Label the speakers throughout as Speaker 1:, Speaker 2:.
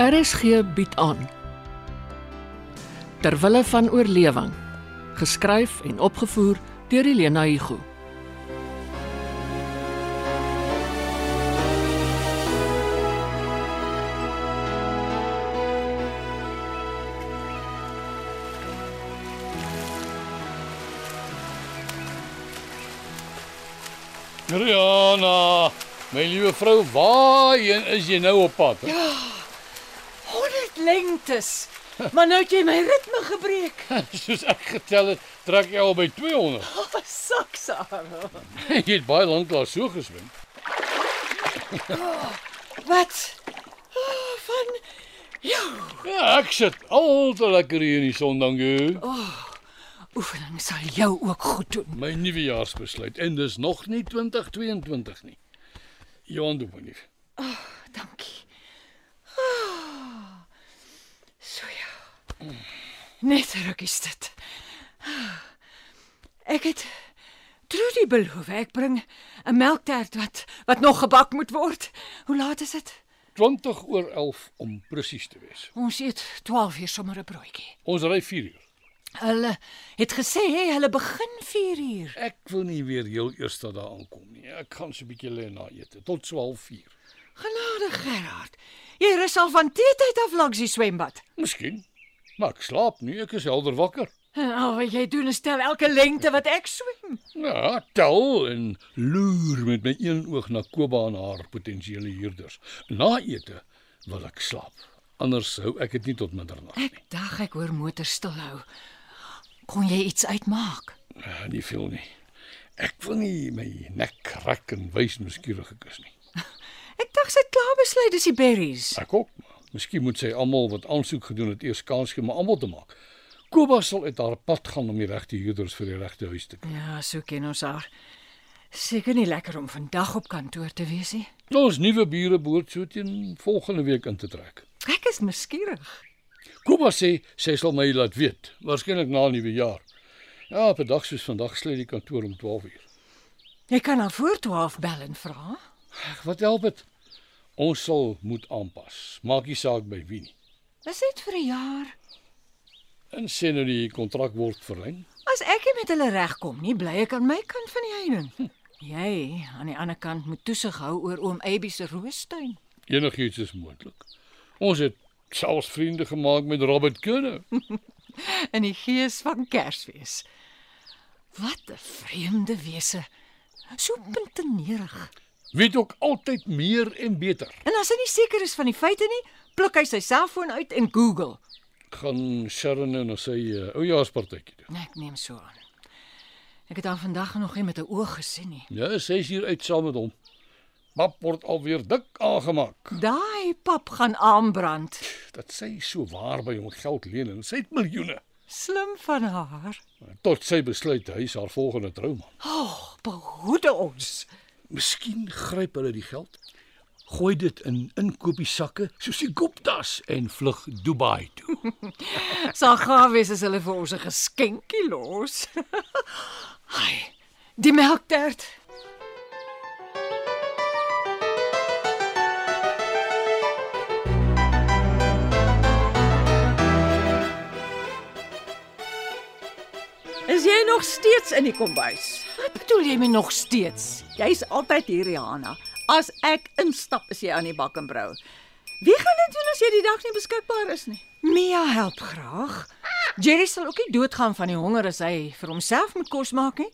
Speaker 1: RSG bied aan Terwille van oorlewing geskryf en opgevoer deur Elena Igu
Speaker 2: Rihanna, my liewe vrou, waarheen is jy nou op pad? Ja.
Speaker 3: 100 lengtes. Maar nou het jy my ritme gebreek.
Speaker 2: Soos ek getel het, trek jy al by 200.
Speaker 3: Oh, Saks, Aro.
Speaker 2: jy het baie lank daar so geswem.
Speaker 3: Wat? Oh, van
Speaker 2: Ja, ek sit al te lekker hier in die son dankie. Oh.
Speaker 3: oefening sal jou ook goed doen.
Speaker 2: My nuwejaarsbesluit en dis nog nie 2022 nie. Johan doen my nie.
Speaker 3: Dankie. Ah, So ja. Net rukkies dit. Ah, Ek het Trudy beloof ek bring 'n melktert wat wat nog gebak moet word. Hoe laat is dit?
Speaker 2: 20 oor 11 om presies te wees.
Speaker 3: Ons eet 12 uur sommer 'n broodjie.
Speaker 2: Ons ry 4 uur.
Speaker 3: Hulle het gesê hulle begin 4 uur.
Speaker 2: Ek wil nie weer heel eers dat daar aankom nie. Ek gaan so 'n bietjie lê na ete tot so 04:30.
Speaker 3: Genade Gerard. Jy rus al van teetyd af langs die swembad.
Speaker 2: Miskien. Maar ek slaap nie, ek is helder wakker.
Speaker 3: En al wat jy doen is tel elke lengte wat ek swem.
Speaker 2: Ja, tel en loer met my een oog na Koba en haar potensiële huurders. Na ete wil ek slaap. Anders hou ek dit nie tot middernag nie.
Speaker 3: Ek dag ek hoor motor stilhou. Kon jy iets uitmaak?
Speaker 2: Ja, nie veel nie. Ek wil nie my nek rek en wys nuuskierige kus nie.
Speaker 3: Ek dag sy het klaar besluit dis die berries.
Speaker 2: Ek ook. maar Miskien moet sy almal wat aansoek gedoen het eers kans gee om almal te maak. Koba sal uit haar pad gaan om die regte huurders vir die regte huis te kry.
Speaker 3: Ja, so ken ons haar. Seker nie lekker om vandag op kantoor te wees nie.
Speaker 2: Ons nuwe bure behoort so teen volgende week in te trek.
Speaker 3: Ek is nuuskierig.
Speaker 2: Kuba sê sy sal my laat weet, waarskynlik na nuwe jaar. Ja, op 'n dag soos vandag sluit die kantoor om 12 uur.
Speaker 3: Jy kan haar voor 12 bel en vra.
Speaker 2: Ag, wat help dit? Ons sal moet aanpas. Maak nie saak by wie nie.
Speaker 3: Dis net vir 'n jaar.
Speaker 2: En sê nou die kontrak word verleng.
Speaker 3: As ek nie met hulle regkom nie, bly ek aan my kant van die heining. Jy aan die ander kant moet toesig hou oor oom Abby se roostuin.
Speaker 2: Enigiets is moontlik. Ons het selfs vriende gemaak met Robert Kunne.
Speaker 3: In die gees van Kersfees. Wat 'n vreemde wese. So puntenerig.
Speaker 2: Weet ook altyd meer en beter.
Speaker 3: En as hy nie seker is van die feite nie, pluk hy sy selfoon uit en Google.
Speaker 2: Gaan Sharon nou na sy uh, oujaarspartytjie toe.
Speaker 3: Nee, ek neem so aan. Ek het haar vandag nog nie met 'n oog gesien nie.
Speaker 2: Ja, 6 uur uit saam met hom. Pap word alweer dik aangemaak.
Speaker 3: Daai pap gaan aanbrand.
Speaker 2: dat sy so waar by hom geld leen en sy het miljoene.
Speaker 3: Slim van haar.
Speaker 2: Tot sy besluit hy is haar volgende trouman.
Speaker 3: Behoede ons.
Speaker 2: Miskien gryp hulle die geld, gooi dit in inkopiesakke soos die Guptas en vlug Dubai toe.
Speaker 3: Sal gaaf wees as hulle vir ons 'n geskenkie los. Ai, die melktert.
Speaker 4: Is jy nog steeds in die kombuis?
Speaker 3: Wat bedoel jy met nog steeds?
Speaker 4: Jy's altyd hier, Rihanna. As ek instap, is jy aan die bak en brou. Wie gaan dit doen as jy die dag nie beskikbaar is nie?
Speaker 3: Mia help graag. Jerry sal ook nie doodgaan van die honger as hy vir homself moet kos maak nie.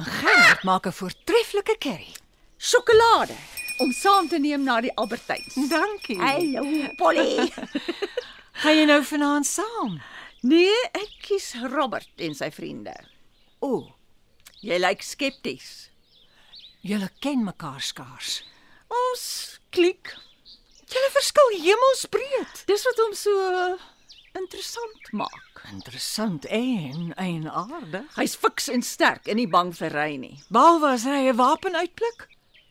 Speaker 3: En Gerard maak 'n voortreffelike curry.
Speaker 4: Sjokolade om saam te neem na die Albertyns.
Speaker 3: Dankie. Hey.
Speaker 4: Hallo, Polly.
Speaker 3: Gaan jy nou vanaand saam?
Speaker 4: nee, ek kies Robert en sy vriende.
Speaker 3: O, oh,
Speaker 4: Jy lyk skepties.
Speaker 3: julle ken mekaar skaars.
Speaker 4: Ons klik.
Speaker 3: Julle verskil hemelsbreed.
Speaker 4: Dis wat hom so interessant maak.
Speaker 3: Interessant en eienaardig.
Speaker 4: Hy's fiks en sterk en nie bang vir ry nie.
Speaker 3: Behalwe as hy 'n wapen uitpluk.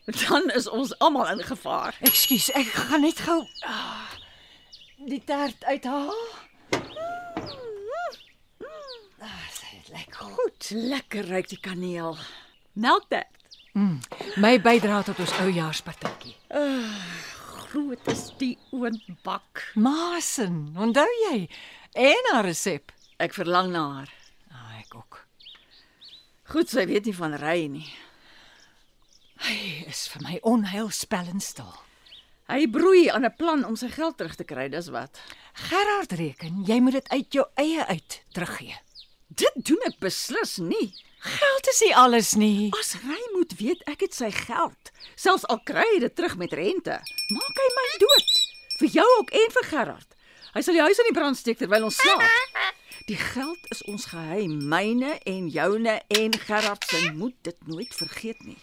Speaker 4: Dan is ons almal in gevaar.
Speaker 3: Ekskuus, ek gaan net gou ah, die tert uithaal. Dit lyk goed.
Speaker 4: Goed, lekker ruik die kaneel. Melktert.
Speaker 3: My bydra tot ons oujaarspartytjie.
Speaker 4: groot is die oombak?
Speaker 3: Masen, onthou jy? En haar resep.
Speaker 4: Ek verlang na haar.
Speaker 3: Ah, ek ook.
Speaker 4: Goed, sy weet nie van ry nie.
Speaker 3: Hy is vir my onheilspellend stil.
Speaker 4: Hy broei aan 'n plan om sy geld terug te kry, dis wat.
Speaker 3: Gerard reken jy moet dit uit jou eie uit teruggee.
Speaker 4: Dit doen ek beslis nie.
Speaker 3: Geld is nie alles nie.
Speaker 4: As Ry moet weet ek het sy geld, selfs al kry hy dit terug met rente, maak hy my dood. Vir jou ook en vir Gerard. Hy sal die huis aan die brand steek terwyl ons slaap. Die geld is ons geheim, myne en joune en Gerard se moet dit nooit vergeet nie.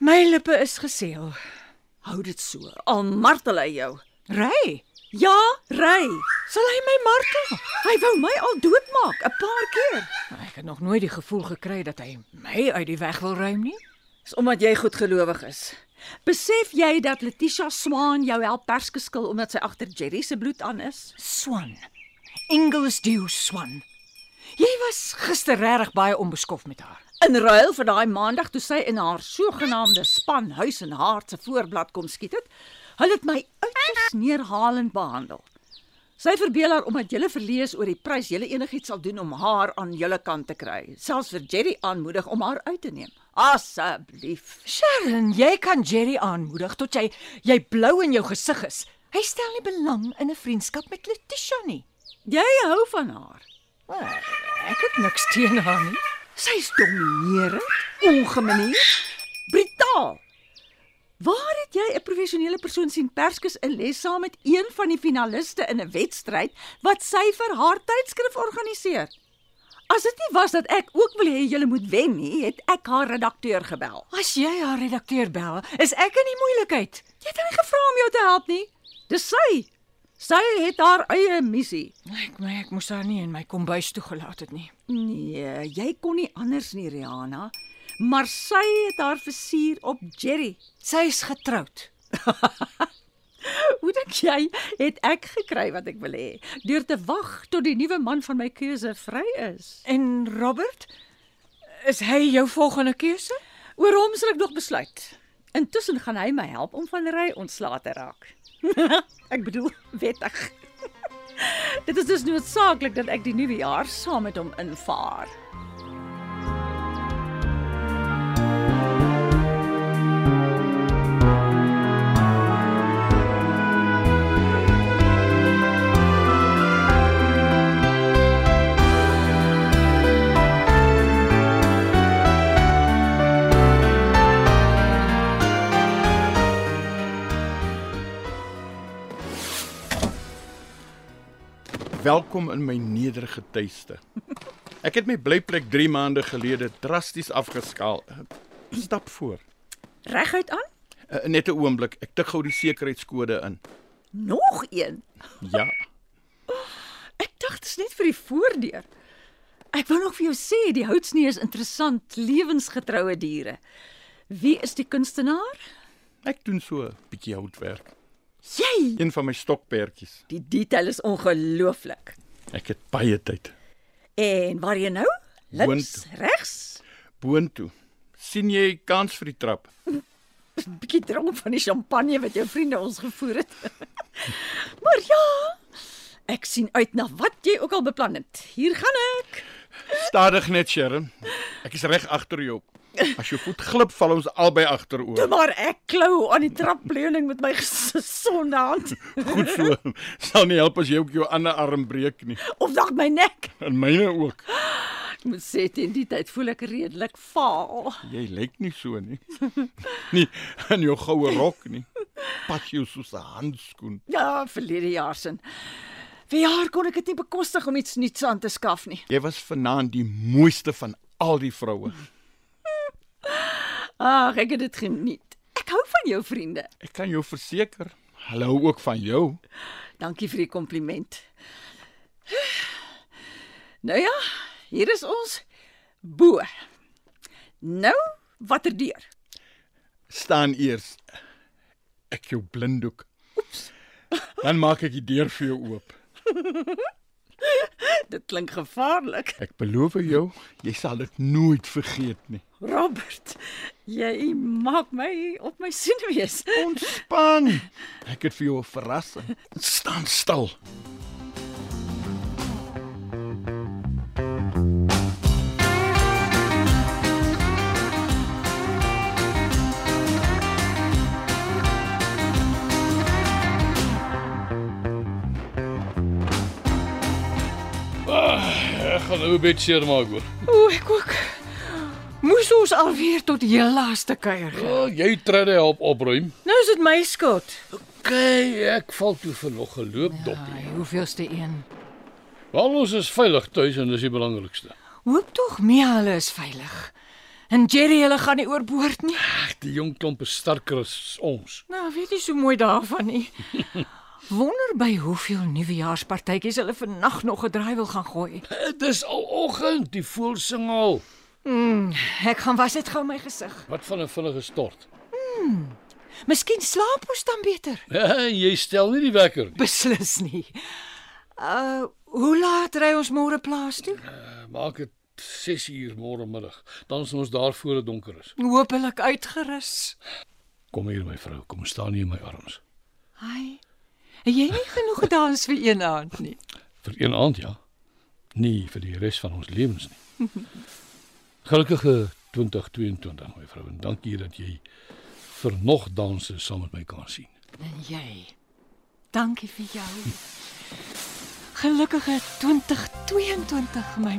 Speaker 3: My lippe is geseël.
Speaker 4: Hou dit so. Al martel hy jou.
Speaker 3: Ry,
Speaker 4: Ja, Ry.
Speaker 3: sal hy my martel?
Speaker 4: Hy wou my al doodmaak 'n paar keer.
Speaker 3: Ah, Ek het nog nooit die gevoel gekry dat hy my uit die weg wil ruim nie.
Speaker 4: Dis omdat jy goedgelowig is. Besef jy dat Letitia Swan jou help perskeskil omdat sy agter Jerry se bloed aan is?
Speaker 3: Swan. Inglesdew Swan. Jy was gister regtig baie onbeskof met haar.
Speaker 4: In ruil vir daai maandag toe sy in haar sogenaamde span huis en hart se voorblad kom skiet het, hulle het my uiters neerhalend behandel. Sy verbeel haar omdat jy verlees oor die prys jy enigiets sal doen om haar aan jou kant te kry, selfs vir Jerry aanmoedig om haar uit te neem. Asseblief.
Speaker 3: Sharon, jy kan Jerry aanmoedig tot jy jy blou in jou gesig is. Hy stel nie belang in 'n vriendskap met Letitia nie.
Speaker 4: Jy hou van haar.
Speaker 3: Wel, Ek het niks teen haar nie.
Speaker 4: Sy's dominerend, ongemanierd, brutaal. Waar het jy 'n professionele persoon sien perskes in les saam met een van die finaliste in 'n wedstryd wat sy vir haar tydskrif organiseer? As dit nie was dat ek ook wil hê julle moet wen nie, het ek haar redakteur gebel.
Speaker 3: As jy haar redakteur bel, is ek in die moeilikheid.
Speaker 4: Jy het haar nie gevra om jou te help nie. Dis sy. Sy het haar eie missie.
Speaker 3: Ek my ek moes haar nie in my kombuis toegelaat het nie.
Speaker 4: Nee, jy kon nie anders nie, Rihanna. Maar sy het haar versier op Jerry.
Speaker 3: Sy's getroud.
Speaker 4: Hoe dink jy het ek gekry wat ek wil hê? Deur te wag tot die nuwe man van my keuse vry is.
Speaker 3: En Robert, is hy jou volgende keuse?
Speaker 4: Oor hom sal ek nog besluit. Intussen gaan hy my help om van ry ontslae te raak. ek bedoel, wettig. Dit is dus noodsaaklik dat ek die nuwe jaar saam met hom invaar.
Speaker 5: Welkom in my nederige tuiste. Ek het my blyplek 3 maande gelede drasties afgeskaal. Stap voor.
Speaker 4: Reguit aan?
Speaker 5: Uh, net 'n oomblik, ek tik gou die sekuriteitskode in.
Speaker 4: Nog een.
Speaker 5: Ja.
Speaker 4: Ek dacht dit is net vir die voordeur. Ek wou nog vir jou sê die houtsnee is interessant, lewensgetroue diere. Wie is die kunstenaar?
Speaker 5: Ek doen so 'n bietjie houtwerk.
Speaker 4: Jy.
Speaker 5: Een van my stokperdjies.
Speaker 4: Die detail is ongelooflik.
Speaker 5: Ek het baie tyd.
Speaker 4: En waar jy nou? Links, regs,
Speaker 5: Boontoe. sien jy kans vir die trap?
Speaker 4: bietjie dronk van die champagne wat jou vriende ons gevoer het. maar ja, ek sien uit na wat jy ook al beplan het. Hier gaan ek.
Speaker 5: Stadig net, Sharon. Ek is reg agter jou. As jou voet glip, val ons albei
Speaker 4: Toe
Speaker 5: agteroor.
Speaker 4: maar ek klou aan die trapleuning met my gesonde hand
Speaker 5: Goed so. Sal nie help as jy ook jou ander arm breek nie.
Speaker 4: of dalk my nek.
Speaker 5: En myne ook.
Speaker 4: Ek moet sê teen die tyd voel ek redelik vaal.
Speaker 5: Jy lyk nie so nie. nie in jou goue rok nie. Pas jou soos 'n handskoen.
Speaker 4: Ja, verlede jaar sin. Vir jaar kon ek dit nie bekostig om iets nuuts aan te skaf nie.
Speaker 5: Jy was vanaand die mooiste van al die vroue.
Speaker 4: Ag, ek het dit geniet. Ek hou van jou vriende.
Speaker 5: Ek kan jou verseker, hulle hou ook van jou.
Speaker 4: Dankie vir die kompliment. Nou ja, hier is ons bo. Nou, watter deur?
Speaker 5: Staan eers ek jou blinddoek. Oeps. Dan maak ek die deur vir jou oop.
Speaker 4: Dit klink gevaarlik.
Speaker 5: Ek beloof jou, jy sal dit nooit vergeet nie.
Speaker 4: Robert, jy maak my op my sin wees.
Speaker 5: Ontspan. Ek het vir jou 'n verrassing. Staan stil.
Speaker 2: Ek gaan nou 'n bietjie seermaak hoor.
Speaker 3: O, ek ook. Moes ons alweer tot heel laaste kuier.
Speaker 2: Ja, jy trede help opruim.
Speaker 3: Nou is dit my skuld.
Speaker 2: OK, ek val toe vir nog 'n loopdoppie.
Speaker 3: Ai, hoeveelste een?
Speaker 2: Wel ons is veilig tuis en dis die belangrikste.
Speaker 3: Hoop tog Mia hulle is veilig. En Jerry hulle gaan nie oorboord nie.
Speaker 2: Ag, die jong klomp is sterker as ons.
Speaker 3: Nou, weet jy so mooi daarvan nie. Wonder by hoeveel nuwejaarspartytjies hulle vannag nog 'n draai wil gaan gooi.
Speaker 2: Eh, Dis aloggend, die voël sing al.
Speaker 3: Ek gaan was dit gou my gesig.
Speaker 2: Wat van 'n vinnige stort?
Speaker 3: Miskien slaap ons dan beter.
Speaker 2: jy stel nie die wekker nie.
Speaker 3: Beslis nie. Uh, hoe laat ry ons môre plaas toe?
Speaker 2: Maak dit 6 uur môre middag. Dan is ons daar voor dit donker is.
Speaker 3: Hoopelik uitgerus.
Speaker 2: Kom hier my vrou, kom staan hier in my arms.
Speaker 3: Ai. Het jy nie genoeg gedans vir een aand nie?
Speaker 2: Vir een aand ja. Nie vir die res van ons lewens nie. Gelukkige 2022 my vrou en dankie dat jy vir nog danse saam met my kan sien.
Speaker 3: En jy. Dankie vir jou. Gelukkige 2022 my.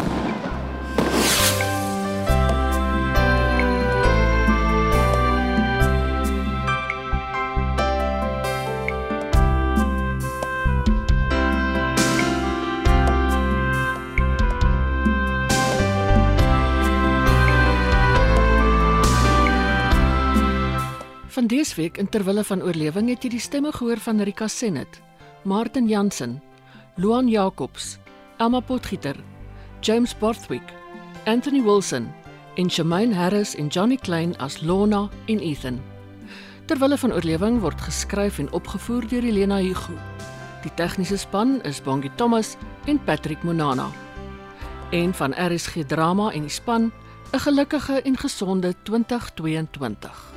Speaker 1: Van dese week in terwille van oorlewing het jy die stemme gehoor van Rika Senet, Martin Jansen, Luan Jacobs, Emma Potgieter, James Borthwick, Anthony Wilson en Shamaine Harris en Johnny Klein as Lona en Ethan. Terwille van oorlewing word geskryf en opgevoer deur Elena Hugo. Die tegniese span is Bongie Thomas en Patrick Monana. En van RSG Drama en die span 'n gelukkige en gesonde 2022.